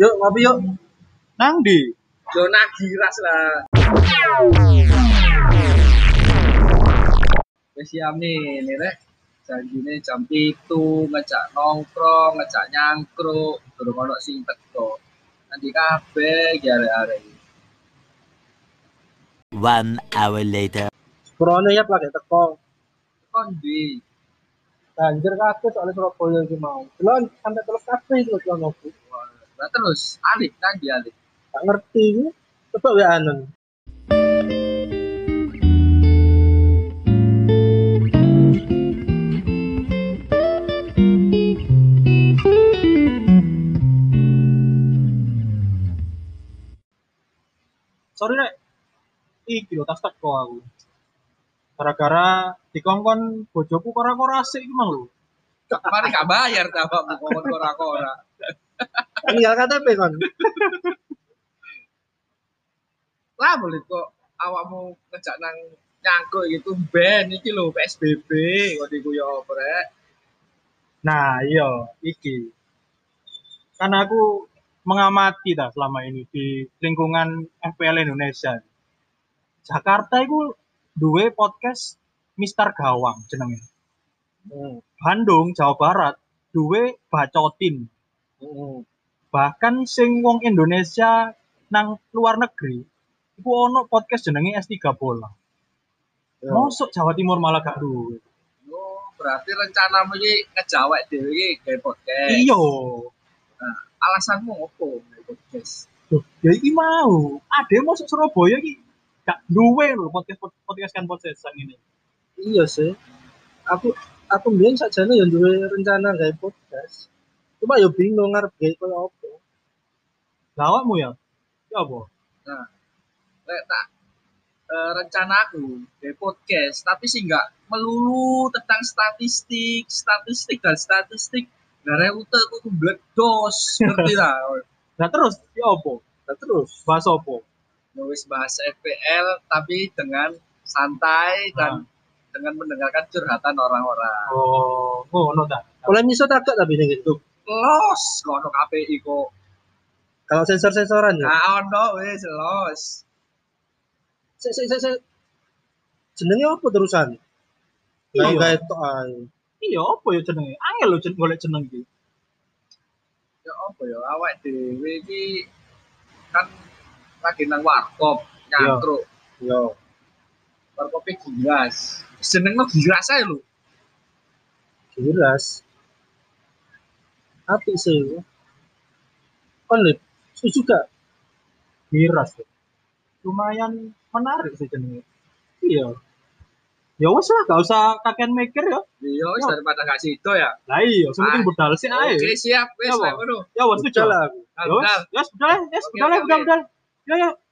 Yuk, ngopi yuk. Nang di. Zona giras lah. Wis siap nih, nih rek. Janjine jam 7 ngejak nongkrong, ngejak nyangkruk, durung ono sing teko. Nanti kabeh iki arek-arek. iki. One hour later. Sepurane ya lagi teko. Teko ndi? Banjir kabeh soalnya Surabaya iki mau. Delon sampai terus kabeh iki lho aku. Wah, Lah terus alif kan di alif. Tak ngerti iki. Coba wae anen. Sorry rek. Iki lho tas teko aku. Gara-gara dikongkon bojoku kora-kora asik iki mang lho. Kemarin gak bayar ta Pak ngomong kora-kora. Tinggal KTP kon. Lah boleh kok awakmu ngejak nang nyangkruk gitu ben iki lho PSBB kok iku ya apa rek. Nah, iya, iki. Karena aku mengamati dah selama ini di lingkungan FPL Indonesia. Jakarta itu dua podcast Mister Gawang jenenge. Hmm, Bandung, Jawa Barat, dua Bacotin. hmm, Bahkan sing wong Indonesia nang luar negeri iku ono podcast jenenge S3 Bola. Iya. Mosok Jawa Timur malah gak duwe. Yo, berarti rencanamu iki ngejawek dhewe iki gawe podcast. Nah, Iya. Alasanmu opo gawe podcast? Loh, ya iki mau. Ade masuk Surabaya iki gak duwe lho podcast podcast kan podcast sang ini. iya sih aku aku mbien sakjane yang duwe rencana gawe podcast cuma yo bingung ngarep gawe koyo apa Lawakmu ya. Ya apa? Nah, Lek tak eh, rencana aku gawe podcast, tapi sih nggak melulu tentang statistik, statistik dan statistik. Nah, rute aku dos, ngerti lah. Nah terus ya apa? nah terus Bahas apa? Nulis bahasa FPL tapi dengan santai Ah. dan dengan mendengarkan curhatan orang-orang. Oh, ngono ta. oleh miso agak tapi ning gitu Los, kono KPI kok. kalau sensor-sensoran ya Nah, ono wis los. sik sik sik sik. jenenge apa terusan Iya. gawe gawe tok ae Iya apa ya jenenge? Angel lho jen- golek jeneng iki. ya apa ya awak dhewe iki kan lagi nang warkop Ya. nyangkruk yo warkope giras seneng lo giras ae lho giras apik sih Kan kon lip setuju gak Miras. lho. Lumayan menarik sih jenenge. Iya. Ya wes lah, gak usah kakean mikir ya. iya wis Ya. daripada gak sido ya Lah iya, sementing Ah, budal sih ae. oke siap wis Ya, lah Bang. ngono Ya wes Setuju setuju. lah Ya wes, Bentar. ya wes budal, ya wes Oke, budal, oke, budal, oke. budal. Ya ya,